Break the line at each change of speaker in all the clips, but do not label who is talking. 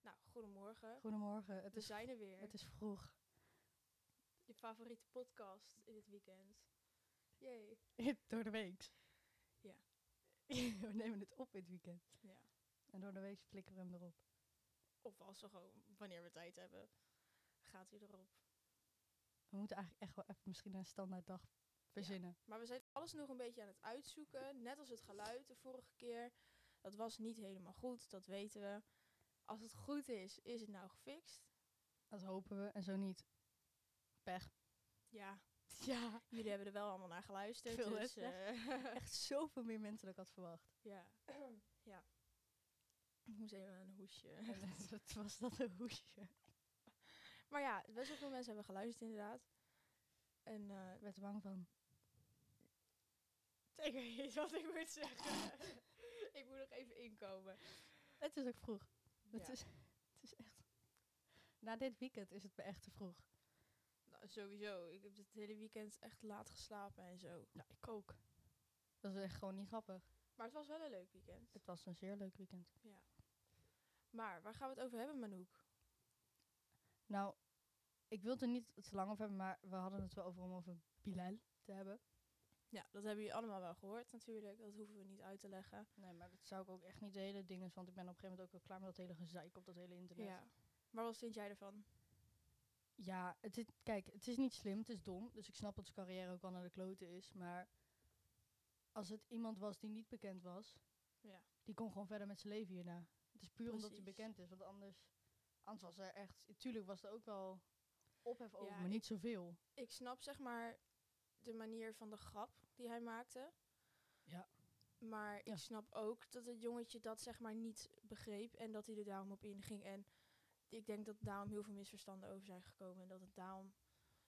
Nou, Goedemorgen.
Goedemorgen, het
We
is,
zijn er weer.
het is vroeg.
Je favoriete podcast in het weekend. Jee.
door de week.
Ja.
we nemen het op in het weekend.
Ja.
En door de week flikkeren we hem erop.
Of als we gewoon, wanneer we tijd hebben, gaat hij erop.
We moeten eigenlijk echt wel even misschien een standaard dag verzinnen.
Maar we zijn alles nog een beetje aan het uitzoeken. Net als het geluid de vorige keer. Dat was niet helemaal goed, dat weten we. Als het goed is, is het nou gefixt?
Dat hopen we en zo niet. Pech.
Ja,
Ja.
jullie hebben er wel allemaal naar geluisterd.
Veel
dus, eh,
Echt zoveel meer mensen dan ik had verwacht.
ja. ja. Ik moest even een hoesje.
En het was dat een hoesje.
Maar ja, best wel veel mensen hebben geluisterd inderdaad. En eh,
Ik werd er bang van.
Ik weet niet wat ik moet zeggen. ik moet nog even inkomen.
Het is ook vroeg. Het,
Ja.
is, het is echt... Na dit weekend is het me echt te vroeg.
Nou, sowieso. Ik heb het hele weekend echt laat geslapen en zo.
Nou, ik ook. Dat is echt gewoon niet grappig.
Maar het was wel een leuk weekend.
Het was een zeer leuk weekend.
Ja. Maar waar gaan we het over hebben, Manouk?
Nou, ik wil het er niet te lang over hebben, maar we hadden het wel over om over Bilal te hebben.
Ja, dat hebben jullie allemaal wel gehoord natuurlijk. Dat hoeven we niet uit te leggen.
Nee, maar dat zou ik ook echt niet de hele ding is, want ik ben op een gegeven moment ook wel klaar met dat hele gezeik op dat hele internet.
Ja. Maar wat vind jij ervan?
Ja, het is, kijk, het is niet slim, het is dom, dus ik snap dat zijn carrière ook al naar de kloten is, maar als het iemand was die niet bekend was,
Ja.
die kon gewoon verder met zijn leven hierna. Het is puur omdat hij
Precies.
bekend is, want anders, anders was er echt, tuurlijk was er ook wel ophef over,
Ja,
maar
ik-
niet zoveel.
Ik snap zeg maar de manier van de grap die hij maakte.
Ja.
Maar
Ja.
ik snap ook dat het jongetje dat zeg maar niet begreep en dat hij er daarom op inging. En ik denk dat daarom heel veel misverstanden over zijn gekomen en dat het daarom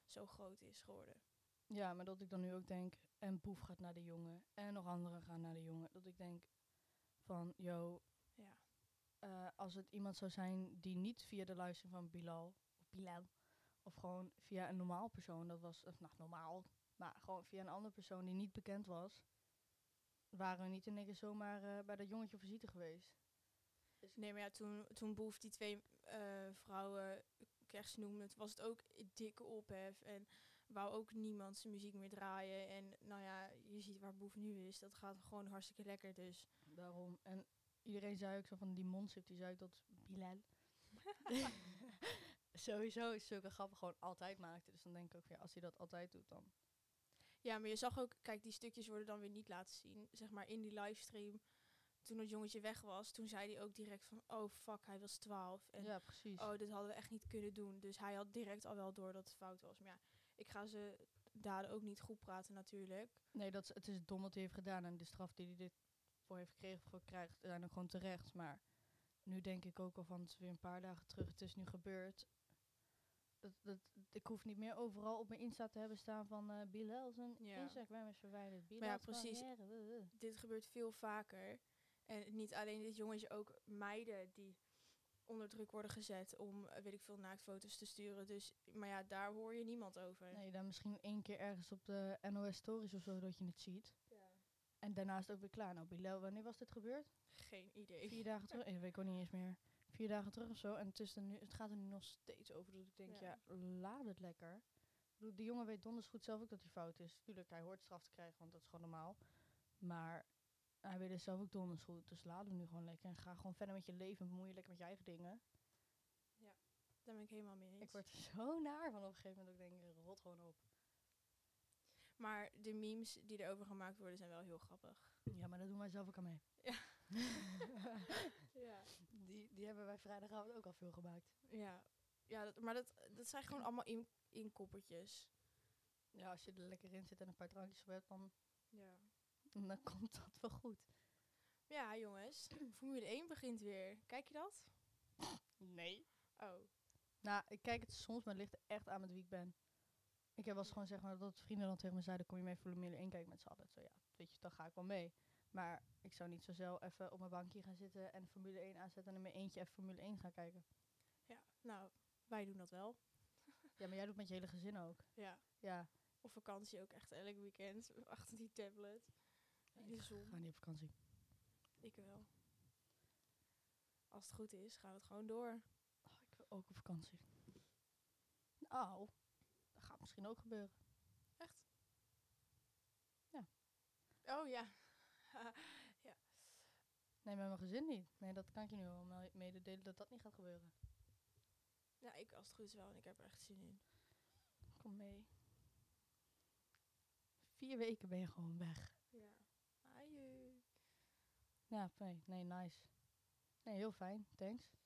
zo groot is geworden.
Ja, maar dat ik dan nu ook denk, en Boef gaat naar de jongen, en nog anderen gaan naar de jongen. Dat ik denk van, yo,
Ja,
eh, als het iemand zou zijn die niet via de luistering van Bilal, of Bilal, of gewoon via een normaal persoon, dat was, of nou normaal, maar gewoon via een andere persoon die niet bekend was, waren we niet in één keer zomaar eh, bij dat jongetje op visite geweest.
nee, maar ja, toen, toen Boef die twee eh, vrouwen kerst noemde, was het ook dikke ophef. En wou ook niemand zijn muziek meer draaien. En nou ja, je ziet waar Boef nu is. Dat gaat gewoon hartstikke lekker. Dus
Daarom, en iedereen zei ook zo van, die mondzip, die zei ook dat Bilal... Sowieso is zulke grappen gewoon altijd maakte. Dus dan denk ik ook, ja, als hij dat altijd doet, dan
Ja, maar je zag ook, kijk, die stukjes worden dan weer niet laten zien. Zeg maar in die livestream, toen het jongetje weg was, toen zei hij ook direct van, oh fuck, hij was 12. En
ja, precies.
oh, dit hadden we echt niet kunnen doen. Dus hij had direct al wel door dat het fout was. Maar ja, ik ga ze daden ook niet goed praten natuurlijk.
Nee, dat is, het is dom wat hij heeft gedaan. En de straf die hij dit voor heeft gekregen, voor krijgt, zijn ook gewoon terecht. Maar nu denk ik ook al van, het is weer een paar dagen terug. Het is nu gebeurd. Dat, dat, ik hoef niet meer overal op mijn Insta te hebben staan van... eh Bilal zijn
Ja.
Instagram is verwijderd. Bilal
ja, precies.
carrière, eh, eh.
Dit gebeurt veel vaker. En niet alleen dit jongetje, ook meiden die onder druk worden gezet om, eh, weet ik veel, naaktfoto's te sturen. Dus, maar ja, daar hoor je niemand over.
Nee, dan misschien één keer ergens op de NOS Stories of zo dat je het ziet.
Ja.
En daarna is het ook weer klaar. Nou, Bilal, wanneer was dit gebeurd?
Geen idee.
Vier dagen terug? Eh, weet ik ook niet eens meer. Vier dagen terug of zo. En het, is er nu, het gaat er nu nog steeds over. Dus ik denk, ja,
Ja.
laat het lekker. Ik bedoel, die jongen weet donders goed zelf ook dat hij fout is. Tuurlijk, hij hoort straf te krijgen, want dat is gewoon normaal. Maar hij weet het zelf ook donders goed. Dus laat hem nu gewoon lekker. En ga gewoon verder met je leven. Bemoei je lekker met je eigen dingen.
Daar ben ik helemaal mee eens.
Ik word er zo naar van op een gegeven moment. dat Ik denk, rot gewoon op.
Maar de memes die erover gemaakt worden zijn wel heel grappig.
Ja, maar dat doen wij zelf ook aan mee.
Ja,
Die, die hebben wij vrijdagavond ook al veel gemaakt.
ja. dat, maar dat, dat zijn gewoon allemaal in, inkoppertjes.
Ja, als je er lekker in zit en een paar drankjes op hebt, dan,
Ja.
dan komt dat wel goed.
ja, jongens. Formule 1 begint weer. Kijk je dat?
Nee.
Oh.
Nou, ik kijk het soms, maar het ligt er echt aan met wie ik ben. Ik heb wel eens gewoon zeg maar dat vrienden dan tegen me zeiden: Kom je mee Formule 1 kijken met z'n allen? Zo ja, weet je, dan ga ik wel mee. Maar ik zou niet zo zelf even op mijn bankje gaan zitten en Formule 1 aanzetten en in mijn eentje even Formule 1 gaan kijken.
Ja, nou, wij doen dat wel.
Ja, maar jij doet met je hele gezin ook.
Ja.
Ja,
Op vakantie ook echt elk weekend. Achter die tablet. In de
we
zon.
gaan niet op vakantie.
Ik wel. Als het goed is, gaan we het gewoon door.
Oh, ook op vakantie. Nou, dat gaat misschien ook gebeuren.
Oh ja. ja.
Nee, met mijn gezin niet. Nee, dat kan ik je nu wel me- mededelen dat dat niet gaat gebeuren.
Nou, ik als het goed is wel en ik heb er echt zin in.
Kom mee. Vier weken ben je gewoon weg.
Ja. Aju.
Ja, nee, nee, nice. Nee, heel fijn, thanks.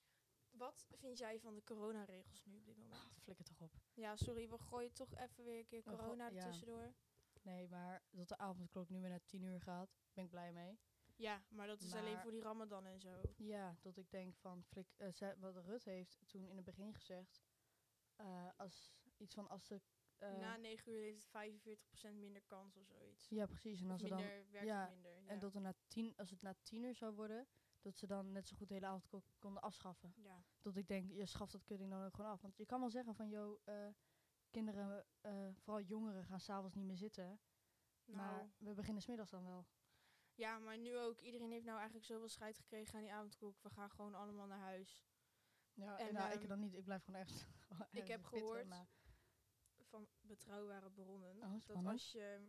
Wat vind jij van de coronaregels nu op dit moment?
Oh, Flikker toch op.
Ja, sorry, we gooien toch even weer een keer
We goo-
corona
ja.
er tussendoor.
Nee, maar dat de avondklok nu weer naar tien uur gaat, ben ik blij mee.
Ja, maar dat is alleen
Maar-
voor die ramadan en zo.
Ja, dat ik denk van, flik, eh, ze- wat Rut heeft toen in het begin gezegd, eh, als iets van als de... eh,
Na 9 uur heeft het 45% minder kans of zoiets.
ja, precies. En
Of
als ze dan
minder, werkt
ja,
minder. Ja.
En dat er na tien, als het na tien uur zou worden, dat ze dan net zo goed de hele avond ko- konden afschaffen.
ja.
Dat ik denk, je schaft dat kutting dan ook gewoon af. Want je kan wel zeggen van, joh, eh, kinderen, eh, vooral jongeren, gaan s'avonds niet meer zitten.
Nou,
Maar we beginnen smiddags dan wel.
ja, maar nu ook. Iedereen heeft nou eigenlijk zoveel scheid gekregen aan die avondklok. We gaan gewoon allemaal naar huis.
Ja,
En,
en, nou, ik
ehm,
dan niet. Ik blijf gewoon echt...
ik heb gehoord van betrouwbare bronnen.
Oh,
dat
spannend. Oh,
als je.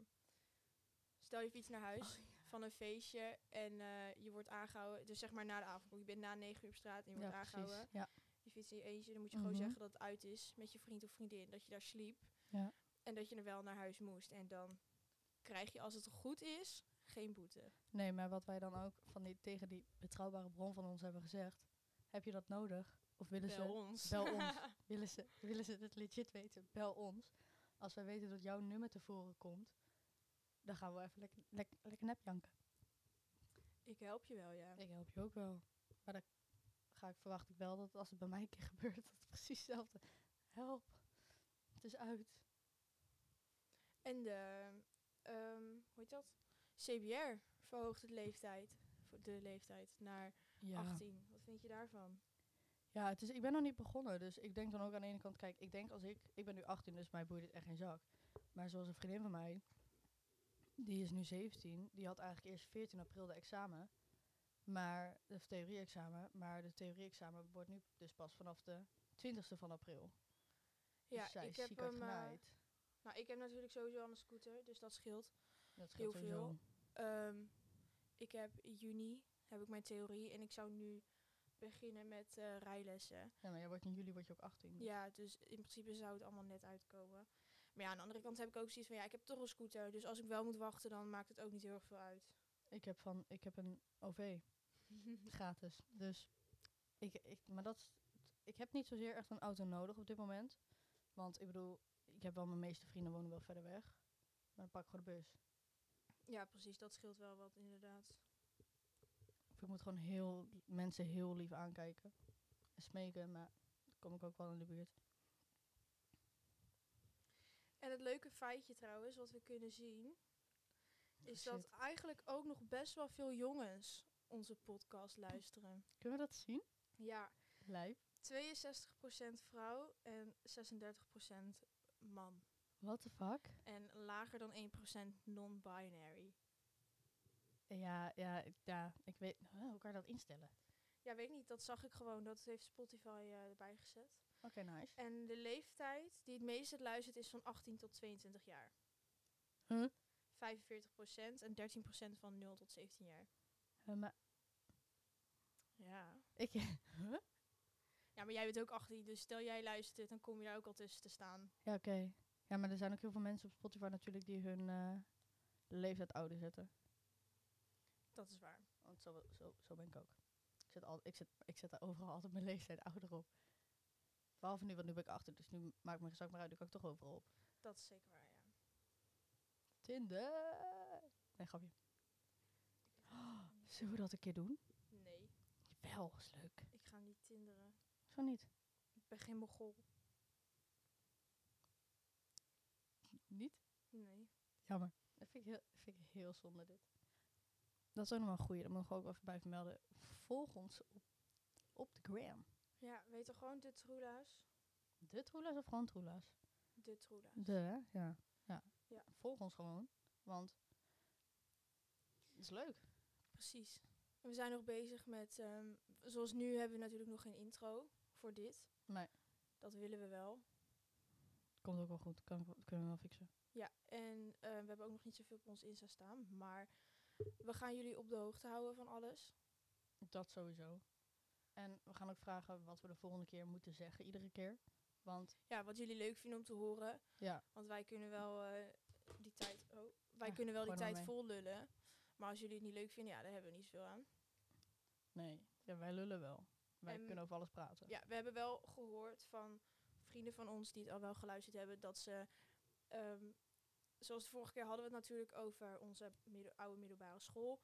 Stel je fiets naar huis van een feestje en eh, je wordt aangehouden. Dus zeg maar na de avondklok. Je bent na 9 uur op straat en je
ja,
wordt aangehouden.
precies. Ja.
je fiets in je eentje, dan moet je
Mhm.
gewoon zeggen dat het uit is met je vriend of vriendin, dat je daar sliep.
Ja.
En dat je er wel naar huis moest. En dan krijg je, als het goed is, geen boete.
Nee, maar wat wij dan ook van die, tegen die betrouwbare bron van ons hebben gezegd. Heb je dat nodig? Of willen
Bel
ze
ons.
Bel ons. Willen ze, willen ze het legit weten? Bel ons. Als wij weten dat jouw nummer tevoren komt, dan gaan we even lekker lek, lekker nep janken.
Ik help je wel, ja.
Ik help je ook wel. Maar dan ga ik verwacht ik wel dat als het bij mij een keer gebeurt, dat het precies hetzelfde. Help. Het is uit.
En de, ehm, hoe heet dat? CBR verhoogt het leeftijd, voor de leeftijd naar
Ja.
18. Wat vind je daarvan?
Ja, het is, ik ben nog niet begonnen, dus ik denk dan ook aan de ene kant, kijk, ik denk als ik, ik ben nu 18, dus mij boeit het echt geen zak. Maar zoals een vriendin van mij, die is nu 17, die had eigenlijk eerst 14 april de examen, maar, of theorie-examen, maar de theorie-examen wordt nu dus pas vanaf de 20ste van april.
Ja,
dus zij
ik
is
heb
ziek hard
hem. eh,
genaaid.
nou, ik heb natuurlijk sowieso al een scooter, dus dat scheelt.
Dat scheelt
heel
sowieso.
Ehm, ik heb in juni heb ik mijn theorie en ik zou nu beginnen met eh, rijlessen.
Ja, maar jij wordt in juli word je ook 18. dus-
Ja, dus in principe zou het allemaal net uitkomen. Maar ja, aan de andere kant heb ik ook zoiets van, ja, ik heb toch een scooter. Dus als ik wel moet wachten, dan maakt het ook niet heel erg veel uit.
Ik heb van, ik heb een OV, gratis. Dus ik, ik, maar dat, is- ik heb niet zozeer echt een auto nodig op dit moment. Want ik bedoel, ik heb wel mijn meeste vrienden wonen wel verder weg. Maar dan pak ik gewoon de bus.
ja, precies, dat scheelt wel wat inderdaad.
Of ik moet gewoon heel, mensen heel lief aankijken. En smeken, maar dan kom ik ook wel in de buurt.
En het leuke feitje trouwens, wat we kunnen zien, is
Oh,
dat
shit.
eigenlijk ook nog best wel veel jongens onze podcast luisteren.
Kunnen we dat zien?
Ja,
Lijf.
62% vrouw en 36% man.
What the fuck?
En lager dan 1% non-binary.
Ja, ja, ik- ja, ik weet, huh, hoe kan je dat instellen?
Ja, weet ik niet, dat zag ik gewoon. Dat heeft Spotify eh, erbij gezet.
Oké, nice.
En de leeftijd die het meest het luistert is van 18 tot 22 jaar.
Huh?
45% en 13% van 0 tot 17 jaar.
Eh, maar
Ja.
ik, huh?
Ja, maar jij bent ook 18, dus stel jij luistert, dan kom je daar ook al tussen te staan.
Ja, oké. Ja, maar er zijn ook heel veel mensen op Spotify natuurlijk die hun eh, leeftijd ouder zetten.
Dat is waar.
Want zo, zo, zo ben ik ook. Ik zet, al, ik, zet, ik zet daar overal altijd mijn leeftijd ouder op. Behalve nu, want nu ben ik achter, dus nu maakt mijn gezak maar uit. Nu kan ik toch overal op.
Dat is zeker waar, ja.
Tinder! Nee, grapje. Oh, zullen we dat een keer doen?
Nee,
Wel, is leuk.
ik ga niet tinderen.
Zo niet.
Ik ben geen mogol.
Niet?
Nee.
Jammer. Dat vind ik heel, vind ik heel zonde dit. Dat is ook nog wel een goeie, dat mogen we ook even bij vermelden. Volg ons op, op de gram.
Ja, weet toch gewoon de troela's?
De troela's of gewoon troela's?
De troela's.
De, hè? ja. ja.
Ja.
Volg ons gewoon, want het is leuk.
Precies. En We zijn nog bezig met, ehm, zoals nu hebben we natuurlijk nog geen intro voor dit.
Nee.
Dat willen we wel.
Komt ook wel goed. Kan, ik wel- kunnen we wel fixen.
Ja, en eh, we hebben ook nog niet zoveel op ons Insta staan. Maar we gaan jullie op de hoogte houden van alles.
Dat sowieso. En we gaan ook vragen wat we de volgende keer moeten zeggen, iedere keer. Want
Ja, wat jullie leuk vinden om te horen.
ja,
Want wij kunnen wel eh, die tijd, oh, wij
Ja, eh,
kunnen wel die
gooi maar
tijd
mee.
vol lullen. Maar als jullie het niet leuk vinden, ja, daar hebben we niet zoveel aan.
nee. Ja, wij lullen wel. Wij
Ehm,
kunnen over alles praten.
Ja, we hebben wel gehoord van vrienden van ons die het al wel geluisterd hebben, dat ze, ehm, zoals de vorige keer hadden we het natuurlijk over onze middel- oude middelbare school.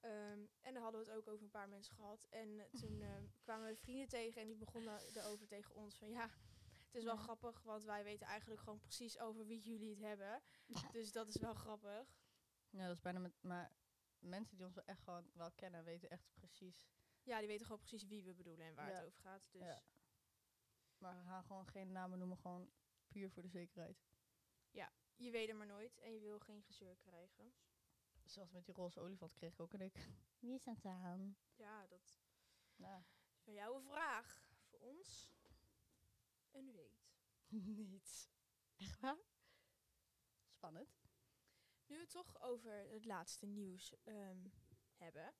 Ehm, en daar hadden we het ook over een paar mensen gehad. En eh, toen ehm, kwamen we vrienden tegen en die begonnen erover tegen ons van ja, het is wel
Ja.
grappig, want wij weten eigenlijk gewoon precies over wie jullie het hebben. Dus dat is wel grappig.
Ja, dat is bijna met... Maar mensen die ons wel echt gewoon wel kennen, weten echt precies.
Ja, die weten gewoon precies wie we bedoelen en waar
Ja.
het over gaat. Dus ja.
Ja. Maar we gaan gewoon geen namen noemen, gewoon puur voor de zekerheid.
je weet er maar nooit en je wil geen gezeur krijgen.
Zelfs met die roze olifant kreeg ik ook een ik. Wie is dat aan?
Ja, dat
Nou,
Van jou een vraag. Voor ons een weet.
niet. Echt waar? Spannend.
Nu we het toch over het laatste nieuws ehm, hebben.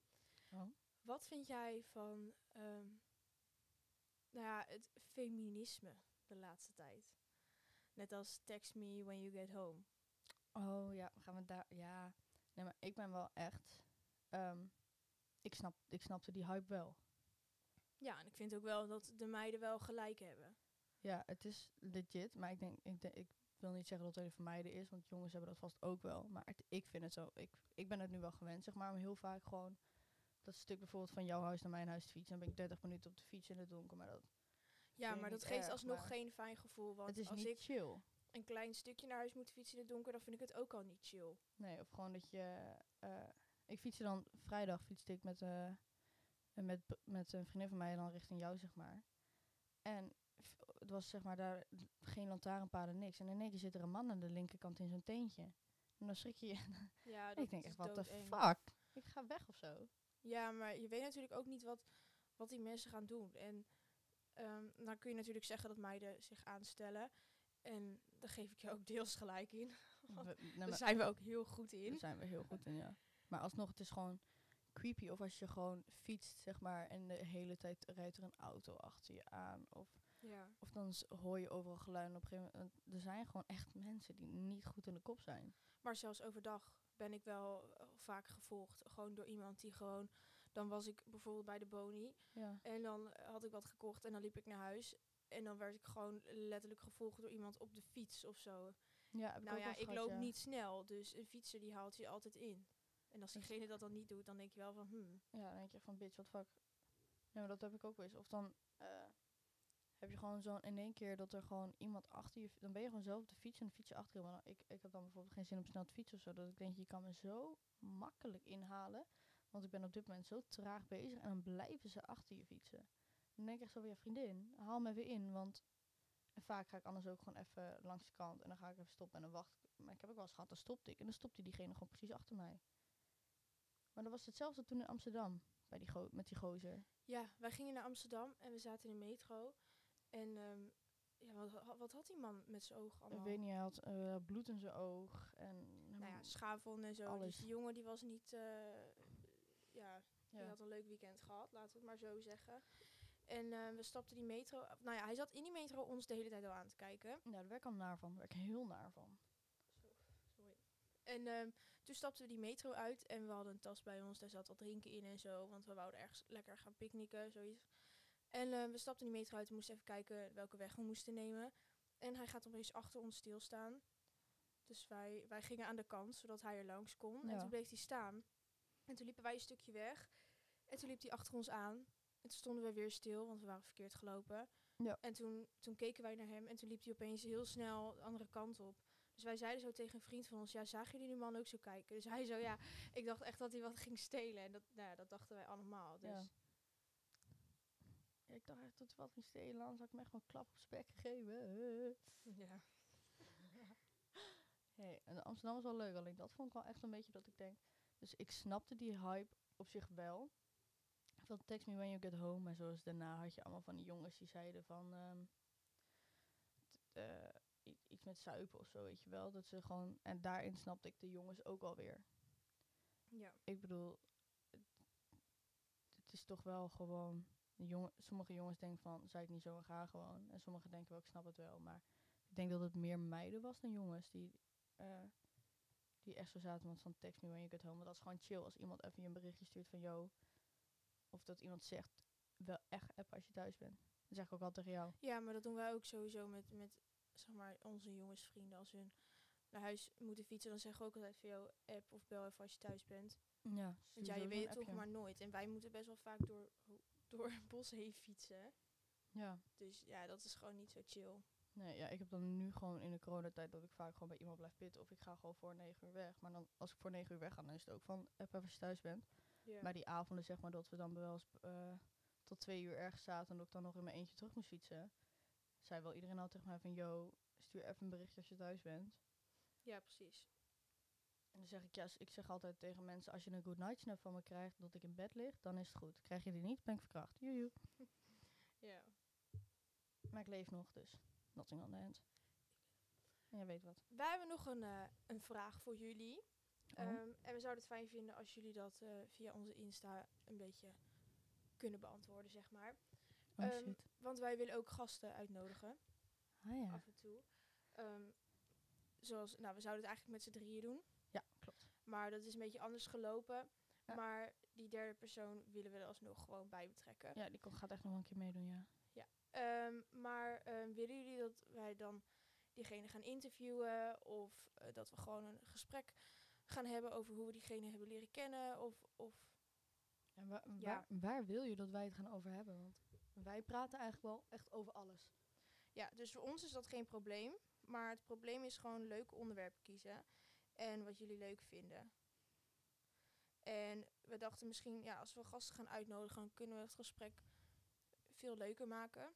Oh.
Wat vind jij van ehm, nou ja, het feminisme de laatste tijd? Net als text me when you get home.
Oh ja, gaan we daar. Ja. Nee, maar ik ben wel echt. ehm, ik, snap, ik snapte die hype wel.
Ja, en ik vind ook wel dat de meiden wel gelijk hebben.
Ja, het is legit, maar ik denk. Ik, denk, ik wil niet zeggen dat het alleen voor meiden is, want jongens hebben dat vast ook wel. Maar het- ik vind het zo. Ik, ik ben het nu wel gewend, zeg maar, om heel vaak gewoon. Dat stuk bijvoorbeeld van jouw huis naar mijn huis te fietsen. Dan ben ik 30 minuten op de fiets in het donker. Maar dat,
Ja,
Vind ik
maar dat
niet
geeft
erg,
alsnog
maar
geen fijn gevoel.
het
Want
is
als
niet
ik
chill.
een klein stukje naar huis moet fietsen in het donker, dan vind ik het ook al niet chill.
Nee, of gewoon dat je. eh, ik fietste dan vrijdag fietste ik met, eh, met, met een vriendin van mij dan richting jou, zeg maar. En f- het was zeg maar daar geen lantaarnpaden, niks. En in één keer zit er een man aan de linkerkant in zo'n teentje. En dan schrik je je.
Ja, dat
ik denk
is
echt, wat de
doodeng.
fuck? Ik ga weg of zo.
Ja, maar je weet natuurlijk ook niet wat, wat die mensen gaan doen. En ehm, dan kun je natuurlijk zeggen dat meiden zich aanstellen. En daar geef ik je ook deels gelijk in.
We- nou,
Daar
maar- Dus-
zijn we ook heel goed
Daar
in.
zijn we heel goed in, ja. Maar alsnog, het is gewoon creepy. Of als je gewoon fietst, zeg maar, en de hele tijd rijdt er een auto achter je aan. Of
Ja.
Of dan s- hoor je overal geluiden. Op een gegeven moment, eh, er zijn gewoon echt mensen die niet goed in de kop zijn.
Maar zelfs overdag ben ik wel eh, vaak gevolgd. Gewoon door iemand die gewoon... Dan was ik bijvoorbeeld bij de Boni.
Ja.
En dan eh, had ik wat gekocht en dan liep ik naar huis. En dan werd ik gewoon letterlijk gevolgd door iemand op de fiets of zo.
ja heb
Nou
ook wel
ja,
eens
ik
gehad,
loop
ja.
niet snel, dus een fietser die haalt je altijd in. En als
Dus-
diegene dat dan niet doet, dan denk je wel van, hmm,
Ja, dan denk je van, bitch, wat fuck. Ja, maar dat heb ik ook wel eens. Of dan eh, heb je gewoon zo'n in één keer dat er gewoon iemand achter je... Dan ben je gewoon zelf op de fiets en dan fiets je achter je. Maar dan- ik, ik heb dan bijvoorbeeld geen zin om snel te fietsen of zo. Dat ik denk, je kan me zo makkelijk inhalen. Want ik ben op dit moment zo traag bezig. En dan blijven ze achter je fietsen. Dan denk ik echt zo weer, vriendin, haal me even in. Want en vaak ga ik anders ook gewoon even langs de kant. En dan ga ik even stoppen en dan wacht ik. Maar ik heb ook wel eens gehad, dan stopte ik. En dan stopte diegene gewoon precies achter mij. Maar dat was hetzelfde toen in Amsterdam. Bij die go- met die gozer.
Ja, wij gingen naar Amsterdam en we zaten in de metro. En ehm, ja, wat, ha- wat had die man met zijn ogen allemaal?
Ik weet niet, hij had eh, bloed in zijn oog. En
Nou ja, schaafwond en zo. Dus
Alles.
die jongen die was niet... eh, ja, die
Ja.
had een leuk weekend gehad, laten we het maar zo zeggen. En eh, we stapten die metro... af- Nou ja, hij zat in die metro ons de hele tijd al aan te kijken.
Nou, daar werd ik al naar van. Daar werd ik heel naar van.
Sorry. En ehm, toen stapten we die metro uit en we hadden een tas bij ons. Daar zat wat drinken in en zo, want we wouden ergens lekker gaan picknicken, zoiets. En eh, we stapten die metro uit en moesten even kijken welke weg we moesten nemen. En hij gaat opeens achter ons stilstaan. Dus wij, wij gingen aan de kant, zodat hij er langs kon. En
Ja.
toen bleef hij staan. En toen liepen wij een stukje weg. En toen liep hij achter ons aan. En toen stonden we weer stil, want we waren verkeerd gelopen.
Ja.
En toen, toen keken wij naar hem en toen liep hij opeens heel snel de andere kant op. Dus wij zeiden zo tegen een vriend van ons, ja, zagen jullie die man ook zo kijken? Dus hij zo, ja, ik dacht echt dat hij wat ging stelen. En dat, nou ja, dat dachten wij allemaal. Dus
Ja. Ja, ik dacht echt dat hij wat ging stelen. Anders had ik me echt gewoon een klap op zijn bek gegeven.
ja.
Hey, en Amsterdam was wel leuk. Alleen dat vond ik wel echt een beetje dat ik denk... Dus ik snapte die hype op zich wel. van text me when you get home. En zoals daarna had je allemaal van die jongens die zeiden van ehm, t- eh, i- iets met zuipen of zo, weet je wel. Dat ze gewoon, en daarin snapte ik de jongens ook alweer.
Ja.
Ik bedoel, het, het is toch wel gewoon, de jongen, sommige jongens denken van, zei ik niet zo en ga gewoon. En sommigen denken wel, ik snap het wel. Maar ik denk dat het meer meiden was dan jongens die... eh, die echt zo zaten want van text me when you get home. Want dat is gewoon chill als iemand even je een berichtje stuurt van yo. Of dat iemand zegt, wel echt app als je thuis bent. Dat zeg ik ook altijd tegen jou.
Ja, maar dat doen wij ook sowieso met, met zeg maar, onze jongensvrienden. Als hun naar huis moeten fietsen, dan zeggen we ook altijd van jou app of bel even als je thuis bent.
Ja,
Want ja, je weet het toch maar nooit. En wij moeten best wel vaak door, ho- door het bos heen fietsen.
Ja.
Dus ja, dat is gewoon niet zo chill.
Nee, ja, ik heb dan nu gewoon in de coronatijd dat ik vaak gewoon bij iemand blijf pitten. Of ik ga gewoon voor negen uur weg. Maar dan, als ik voor negen uur weg ga, dan is het ook van app even als je thuis bent.
Ja.
Maar die avonden zeg maar dat we dan wel eens eh, tot twee uur ergens zaten en dat ik dan nog in mijn eentje terug moest fietsen. Zei wel iedereen al tegen mij van, yo, stuur even een berichtje als je thuis bent.
ja, precies.
En dan zeg ik, ja, s- ik zeg altijd tegen mensen, als je een good night snap van me krijgt dat ik in bed lig, dan is het goed. Krijg je die niet, ben ik verkracht. Joejoe.
Ja.
Maar ik leef nog, dus nothing on the hand. En jij weet wat.
Wij hebben nog een, eh, een vraag voor jullie.
Oh.
Ehm, en we zouden het fijn vinden als jullie dat eh, via onze Insta een beetje kunnen beantwoorden, zeg maar.
Oh
Ehm,
shit.
Want wij willen ook gasten uitnodigen.
Ah ja.
af en toe. Ehm, zoals, nou, we zouden het eigenlijk met z'n drieën doen.
Ja, klopt.
Maar dat is een beetje anders gelopen.
Ja.
Maar die derde persoon willen we er alsnog gewoon bij betrekken.
Ja, die ko- gaat echt nog wel een keer meedoen, ja.
Ehm, maar ehm, willen jullie dat wij dan diegene gaan interviewen? Of eh, dat we gewoon een gesprek gaan hebben over hoe we diegene hebben leren kennen? Of, of
En wa-
Ja.
Waar, waar wil je dat wij het gaan over hebben? Want wij praten eigenlijk wel echt over alles.
Ja, dus voor ons is dat geen probleem. Maar het probleem is gewoon leuke onderwerpen kiezen. En wat jullie leuk vinden. En we dachten misschien, ja, als we gasten gaan uitnodigen, dan kunnen we het gesprek veel leuker maken.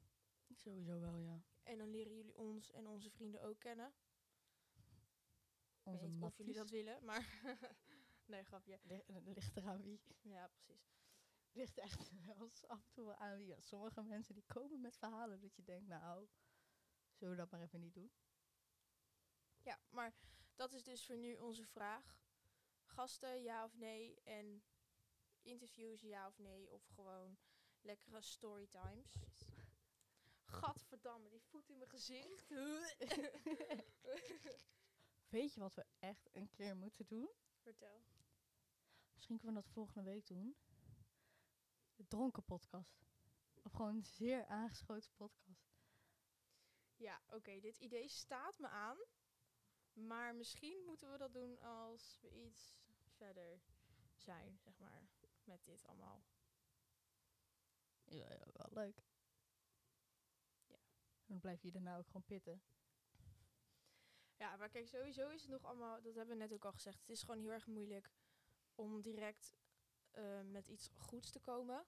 Sowieso wel, ja.
En dan leren jullie ons en onze vrienden ook kennen. Ik
Onze
weet niet of jullie dat
matties.
willen, maar. nee, grapje.
Ligt- Ligt eraan wie.
Ja, precies.
ligt echt wel eens af en toe wel aan wie. ja, Sommige mensen die komen met verhalen dat je denkt, nou, zullen we dat maar even niet doen?
Ja, maar dat is dus voor nu onze vraag. Gasten, ja of nee? En interviews, ja of nee? Of gewoon lekkere storytimes? Gadverdamme, die voet in mijn gezicht.
Weet je wat we echt een keer moeten doen?
Vertel.
Misschien kunnen we dat volgende week doen. De dronken podcast. Of gewoon een zeer aangeschoten podcast.
Ja, oké, dit idee staat me aan. Maar misschien moeten we dat doen als we iets verder zijn, zeg maar, met dit allemaal.
Ja, ja, wel leuk.
Ja.
En dan blijf je daarna ook gewoon pitten.
Ja, maar kijk, sowieso is het nog allemaal, dat hebben we net ook al gezegd, het is gewoon heel erg moeilijk om direct eh, met iets goeds te komen.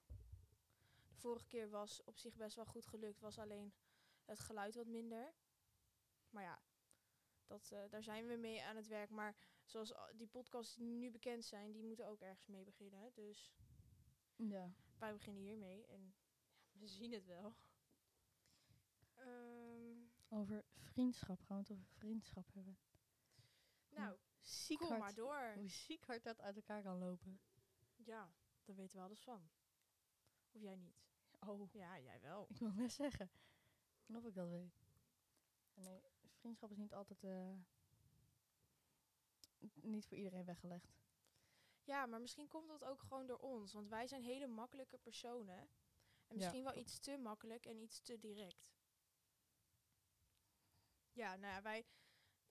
De vorige keer was op zich best wel goed gelukt, was alleen het geluid wat minder. Maar ja, dat, eh, daar zijn we mee aan het werk. Maar zoals al die podcasts die nu bekend zijn, die moeten ook ergens mee beginnen. Dus
Ja.
wij beginnen hiermee en ja, we zien het wel. Ehm,
Over vriendschap gaan we het over vriendschap hebben.
nou,
Ziek
kom
hard-
maar door.
Hoe ziek hard dat uit elkaar kan lopen.
Ja, daar weten we alles van. Of jij niet?
Oh.
Ja, jij wel.
Ik wil net zeggen. En of ik dat weet. En nee, vriendschap is niet altijd. eh, n- niet voor iedereen weggelegd.
Ja, maar misschien komt dat ook gewoon door ons. Want wij zijn hele makkelijke personen. En misschien wel iets te makkelijk en iets te direct. Ja, nou ja, wij,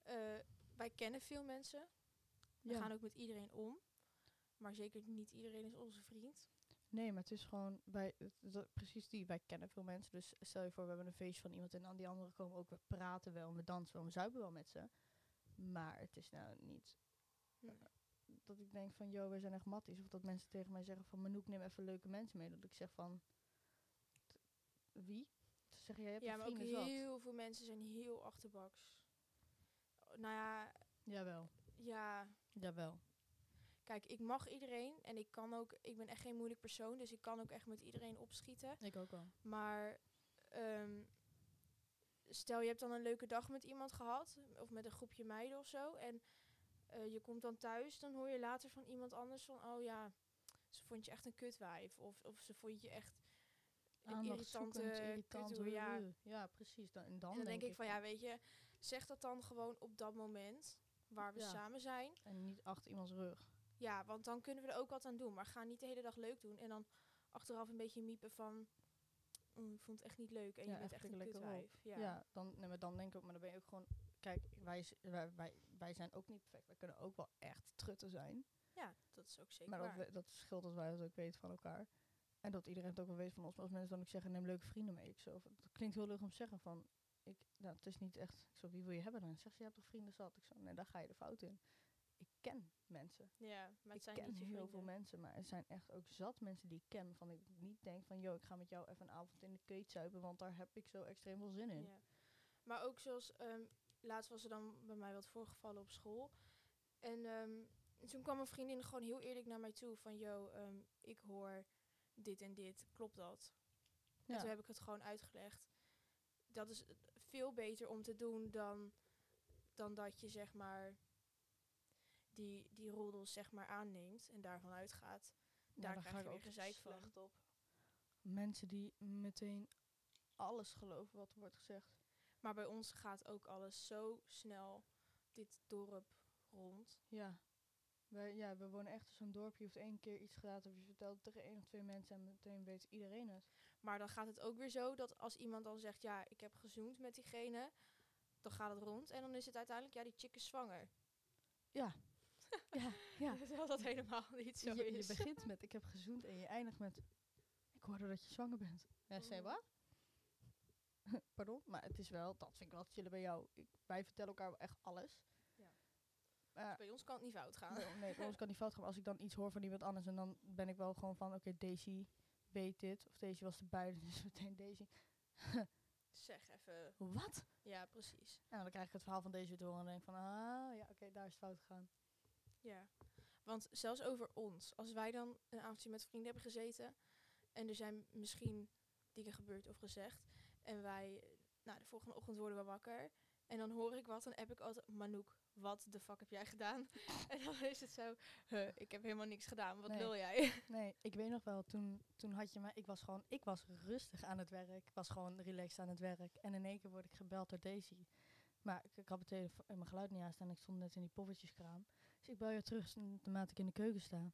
eh, wij kennen veel mensen. We gaan ook met iedereen om. Maar zeker niet iedereen is onze vriend.
Nee, maar het is gewoon. Wij, het- dat- precies die. Wij kennen veel mensen. Dus stel je voor, we hebben een feestje van iemand. En dan die anderen komen ook. We praten wel. en We dansen wel. en We zuipen wel met ze. Maar het is nou niet. eh,
Nee.
Dat ik denk van, joh, wij zijn echt matties. Of dat mensen tegen mij zeggen van, Manouk, neem even leuke mensen mee. Dat ik zeg van, "T- wie? Ze zeggen, jij hebt
ja,
een
maar ook
vriend, is wat?
heel veel mensen zijn heel achterbaks. Nou ja,
Jawel,
ja,
jawel.
Kijk, ik mag iedereen en ik kan ook, ik ben echt geen moeilijk persoon, dus ik kan ook echt met iedereen opschieten.
Ik ook wel.
Maar ehm, stel je hebt dan een leuke dag met iemand gehad, of met een groepje meiden of zo, en eh, je komt dan thuis, dan hoor je later van iemand anders van, oh ja, ze vond je echt een kutwijf, of, of ze vond je echt een irritante kuthoer, eh, ja.
ja, precies. Dan, en dan,
En dan denk ik van, ja, weet je, zeg dat dan gewoon op dat moment waar we
Ja.
samen zijn.
En niet achter iemands rug.
Ja, want dan kunnen we er ook wat aan doen. Maar ga niet de hele dag leuk doen en dan achteraf een beetje miepen van... "Mm, ik vond het echt niet leuk en
Ja,
je bent echt
echt
een
lekker
kutwijf.
Ja,
Ja.
dan, nee, maar dan denk ik ook, maar dan ben je ook gewoon... Kijk, wij, z- wij, wij, wij zijn ook niet perfect. Wij kunnen ook wel echt trutten zijn.
ja, dat is ook zeker
maar dat,
waar.
we- dat verschil dat wij dat ook weten van elkaar. En dat iedereen het ook wel weet van ons. Maar als mensen dan ook zeggen, neem leuke vrienden mee. Ik zo, van, dat klinkt heel leuk om te zeggen van... Ik, nou, het is niet echt... Ik zo, wie wil je hebben dan? Zeg ze, je hebt toch vrienden zat? Ik zo, nee, daar ga je de fout in. Ik ken mensen.
Ja, maar het
ik
zijn
ken
niet je
heel
vrienden.
veel mensen, maar er zijn echt ook zat mensen die ik ken. Van ik niet denk van, yo, ik ga met jou even een avond in de keet zuipen, want daar heb ik zo extreem veel zin in. Nou,
Ja. Maar ook zoals, ehm, laatst was er dan bij mij wat voorgevallen op school. En ehm, toen kwam een vriendin gewoon heel eerlijk naar mij toe van, yo, ehm, ik hoor dit en dit, klopt dat?
Ja.
En toen heb ik het gewoon uitgelegd. Dat is eh, veel beter om te doen dan, dan dat je zeg maar die, die roddels zeg maar aanneemt en daarvan uitgaat.
Ja,
Daar
dan
krijg
ga
je
ik
weer
ook
gezeik van.
slecht op. Mensen die meteen alles geloven wat er wordt gezegd.
Maar bij ons gaat ook alles zo snel dit dorp rond.
Ja. Wij, ja, we wonen echt in zo'n dorpje. Je hoeft één keer iets gedaan te hebben. Je vertelt het tegen één of twee mensen en meteen weet iedereen het.
Maar dan gaat het ook weer zo dat als iemand dan zegt, ja, ik heb gezoend met diegene, dan gaat het rond. En dan is het uiteindelijk, ja, die chick is zwanger.
Ja, ja.
Terwijl dat helemaal niet zo
je, je
is.
begint met ik heb gezoend en je eindigt met ik hoorde dat je zwanger bent. Ja, zei
Oh.
wat? Pardon, maar het is wel, dat vind ik wel chillen bij jou. Ik, wij vertellen elkaar wel echt alles.
Ja.
Maar
Bij ons kan het niet fout gaan.
nee, Oh, nee, bij ons kan niet fout gaan. Maar Als ik dan iets hoor van iemand anders en dan ben ik wel gewoon van oké, Daisy weet dit. Of Daisy was erbij, dus meteen Daisy.
Zeg even.
Wat?
Ja, precies.
En dan krijg ik het verhaal van Daisy te horen en denk van ah ja, oké, daar is het fout gegaan.
Ja. Want zelfs over ons, als wij dan een avondje met vrienden hebben gezeten en er zijn misschien dingen gebeurd of gezegd en wij, eh, nou, de volgende ochtend worden we wakker en dan hoor ik wat, dan heb ik altijd, Manouk, wat de fuck heb jij gedaan? en dan is het zo, huh, ik heb helemaal niks gedaan, wat
Nee.
wil jij?
Nee, ik weet nog wel, toen, toen had je mij, ik was gewoon, ik was rustig aan het werk. Ik was gewoon relaxed aan het werk. En in één keer word ik gebeld door Daisy. Maar ik, ik had mijn, telefo- eh, mijn geluid niet aanstaan. Ik stond net in die poffertjeskraam. Dus ik bel je terug s- naarmate ik in de keuken sta.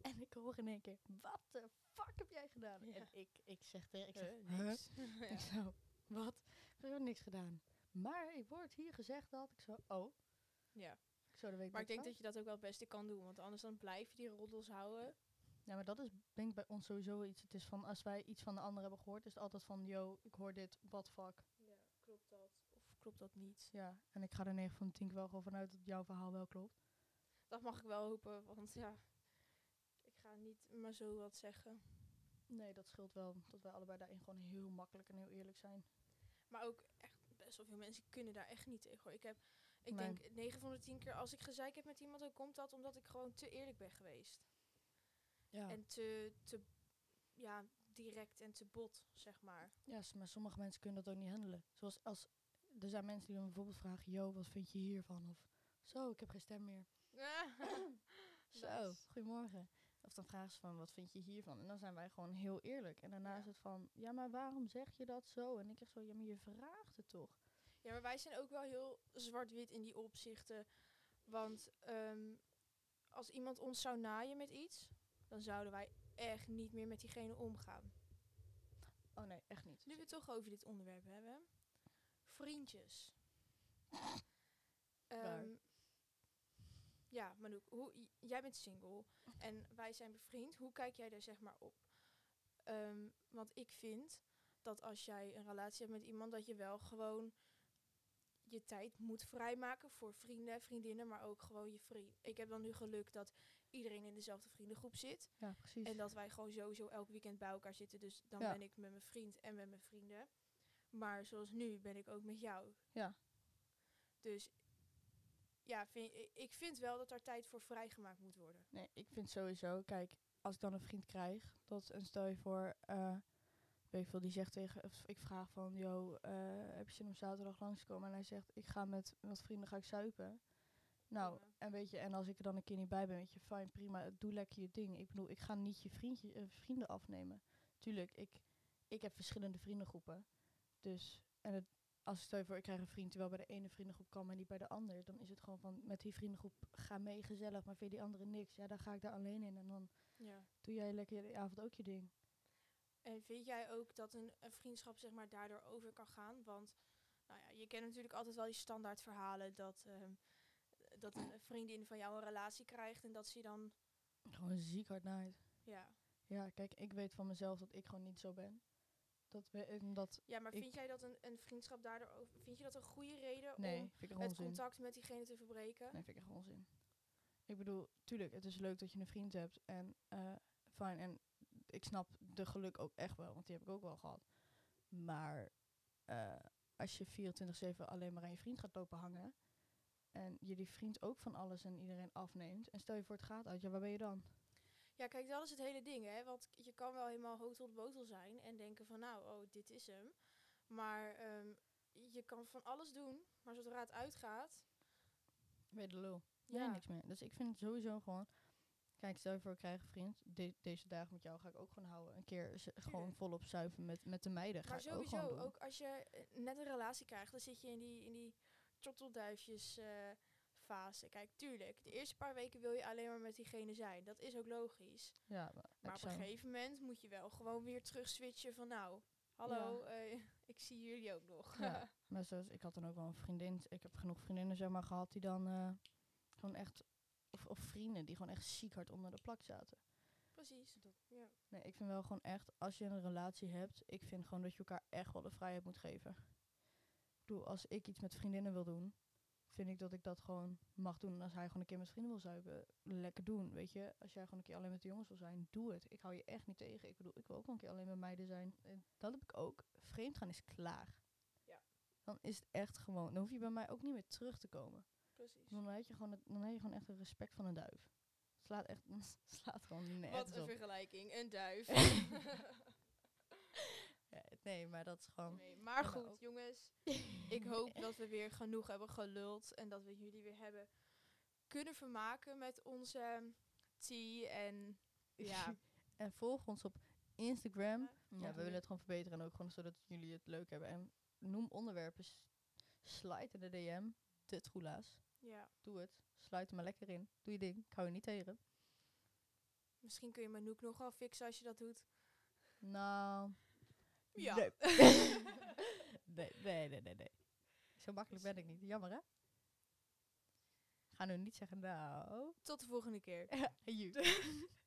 En ik hoor in één keer, wat de fuck heb jij gedaan?
Ja.
En ik, ik zeg tegen, ik zeg,
Huh,
"Huh?"
niks. Ja.
Ik zo, wat? Ik heb niks gedaan. Maar ik word hier gezegd dat. Ik zo, oh.
Ja.
Ik zo, dat weet
Maar ik denk
van.
dat je dat ook wel het beste kan doen, want anders dan blijf je die roddels houden.
Ja, maar dat is denk ik bij ons sowieso iets. Het is van als wij iets van de ander hebben gehoord, is het altijd van yo, ik hoor dit, what the fuck.
Ja, klopt dat? Of klopt dat niet?
Ja, en ik ga er 9 van de 10 wel gewoon vanuit dat jouw verhaal wel klopt.
Dat mag ik wel hopen, want ja, ik ga niet maar zo wat zeggen.
Nee, dat scheelt wel. Dat wij allebei daarin gewoon heel makkelijk en heel eerlijk zijn.
Maar ook echt best wel veel mensen kunnen daar echt niet tegen. hoor. Ik heb, ik
Nee.
denk 9 van de 10 keer als ik gezeik heb met iemand, dan komt dat omdat ik gewoon te eerlijk ben geweest.
Ja,
En te, te, ja, direct en te bot, zeg maar.
ja s- maar sommige mensen kunnen dat ook niet handelen. Zoals als, er zijn mensen die dan bijvoorbeeld vragen, yo, wat vind je hiervan? Of zo, ik heb geen stem meer. Zo,
Nice.
goedemorgen. Of dan vragen ze van, wat vind je hiervan? En dan zijn wij gewoon heel eerlijk. En daarna
Ja.
is het van, ja, maar waarom zeg je dat zo? En ik zeg zo, ja, maar je vraagt het toch?
Ja, maar wij zijn ook wel heel zwart-wit in die opzichten. Want ehm, als iemand ons zou naaien met iets, dan zouden wij echt niet meer met diegene omgaan.
Oh nee, echt niet.
Nu we het toch over dit onderwerp hebben. Vriendjes.
Waar?
Ehm, ja, Manouk, hoe, j- jij bent single en wij zijn bevriend. Hoe kijk jij daar zeg maar op? Ehm, want ik vind dat als jij een relatie hebt met iemand, dat je wel gewoon je tijd moet vrijmaken voor vrienden, vriendinnen, maar ook gewoon je vriend. Ik heb dan nu geluk dat iedereen in dezelfde vriendengroep zit.
Ja, precies.
En dat wij gewoon sowieso elk weekend bij elkaar zitten. Dus dan
Ja.
ben ik met mijn vriend en met mijn vrienden. Maar zoals nu ben ik ook met jou.
Ja.
Dus ja, vind, i- ik vind wel dat daar tijd voor vrijgemaakt moet worden.
Nee, ik vind sowieso, kijk, als ik dan een vriend krijg, dat en stel je voor, eh weet ik veel, die zegt tegen, of ik vraag van, yo, eh, heb je zin om zaterdag langs te komen? En hij zegt, ik ga met wat vrienden ga ik suipen. Nou,
Ja.
en weet je, en als ik er dan een keer niet bij ben, weet je, fijn, prima, doe lekker je ding. Ik bedoel, ik ga niet je vriendje, eh, vrienden afnemen. Tuurlijk, ik, ik heb verschillende vriendengroepen. Dus, en het, als ik stel je voor, ik krijg een vriend die wel bij de ene vriendengroep kan, maar niet bij de ander. Dan is het gewoon van, met die vriendengroep ga mee gezellig, maar vind die andere niks. Ja, dan ga ik daar alleen in en dan
Ja.
doe jij lekker de avond ook je ding.
En vind jij ook dat een, een vriendschap zeg maar, daardoor over kan gaan? Want nou ja, je kent natuurlijk altijd wel die standaard verhalen dat, ehm, dat een vriendin van jou een relatie krijgt en dat ze je dan.
Gewoon ziek hard naait.
Ja,
Ja, kijk, ik weet van mezelf dat ik gewoon niet zo ben. Dat we, eh, omdat,
ja maar
Ik-
vind jij dat een, een vriendschap daardoor over. Vind je dat een goede reden
nee,
om
vind ik
het
onzin.
contact met diegene te verbreken?
Nee, vind ik echt onzin. Ik bedoel, tuurlijk, het is leuk dat je een vriend hebt en eh fijn. En ik snap de geluk ook echt wel, want die heb ik ook wel gehad. Maar eh, als je 24-7 alleen maar aan je vriend gaat lopen hangen en je die vriend ook van alles en iedereen afneemt en stel je voor het gaat uit, ja, waar ben je dan?
Ja, kijk, dat is het hele ding, hè. Want je kan wel helemaal hotel de botel zijn en denken van, nou, oh, dit is hem. Maar ehm, je kan van alles doen, maar zodra het uitgaat...
Ben je de lul? Ja. niks meer. Dus ik vind het sowieso gewoon. Kijk, stel je voor, ik krijg een vriend. De- deze dagen met jou ga ik ook gewoon houden. Een keer z- gewoon
Tuurlijk.
volop zuiven met, met de meiden. Ga
maar
ik ook gewoon
sowieso,
doen.
ook, als je eh, net een relatie krijgt, dan zit je in die, in die trottelduifjes eh, fase. Kijk, tuurlijk, de eerste paar weken wil je alleen maar met diegene zijn. Dat is ook logisch.
Ja, maar,
Maar op
exact.
een gegeven moment moet je wel gewoon weer terug switchen van, nou, hallo, eh, ik zie jullie ook nog.
Ja. Maar zoals, ik had dan ook wel een vriendin. Ik heb genoeg vriendinnen zeg maar, gehad die dan eh, gewoon echt... Of, of vrienden die gewoon echt ziek hard onder de plak zaten.
Precies. Ja.
Nee, ik vind wel gewoon echt, als je een relatie hebt... Ik vind gewoon dat je elkaar echt wel de vrijheid moet geven. Ik bedoel, als ik iets met vriendinnen wil doen... Vind ik dat ik dat gewoon mag doen. En als hij gewoon een keer met vrienden wil zuipen, lekker doen. Weet je, als jij gewoon een keer alleen met de jongens wil zijn, doe het. Ik hou je echt niet tegen. Ik bedoel, ik wil ook wel een keer alleen met meiden zijn. En dat heb ik ook. Vreemd gaan is klaar.
Ja.
Dan is het echt gewoon. Dan hoef je bij mij ook niet meer terug te komen.
Precies.
Dan heb je gewoon, het- dan heb je gewoon echt het respect van een duif. Slaat echt, slaat gewoon
Wat
nergens
een
op.
vergelijking, een duif.
Ja, nee, maar dat is gewoon.
nee, maar
maar
goed,
ook-
jongens. Ik hoop dat we weer genoeg hebben geluld en dat we jullie weer hebben kunnen vermaken met onze tea en ja,
En volg ons op Instagram. Ja,
doe
we willen
je.
het gewoon verbeteren en ook gewoon zodat jullie het leuk hebben. En noem onderwerpen. S- Slide in de DM. De troela's.
ja.
Doe het. Sluit er maar lekker in. Doe je ding. Ik hou je niet tegen.
Misschien kun je Manouk nogal fixen als je dat doet.
Nou.
Ja.
Nee. nee, nee, nee, nee, nee. Zo makkelijk ben ik niet. Jammer, hè? Ga nu niet zeggen, nou.
Tot de volgende keer.
Joe.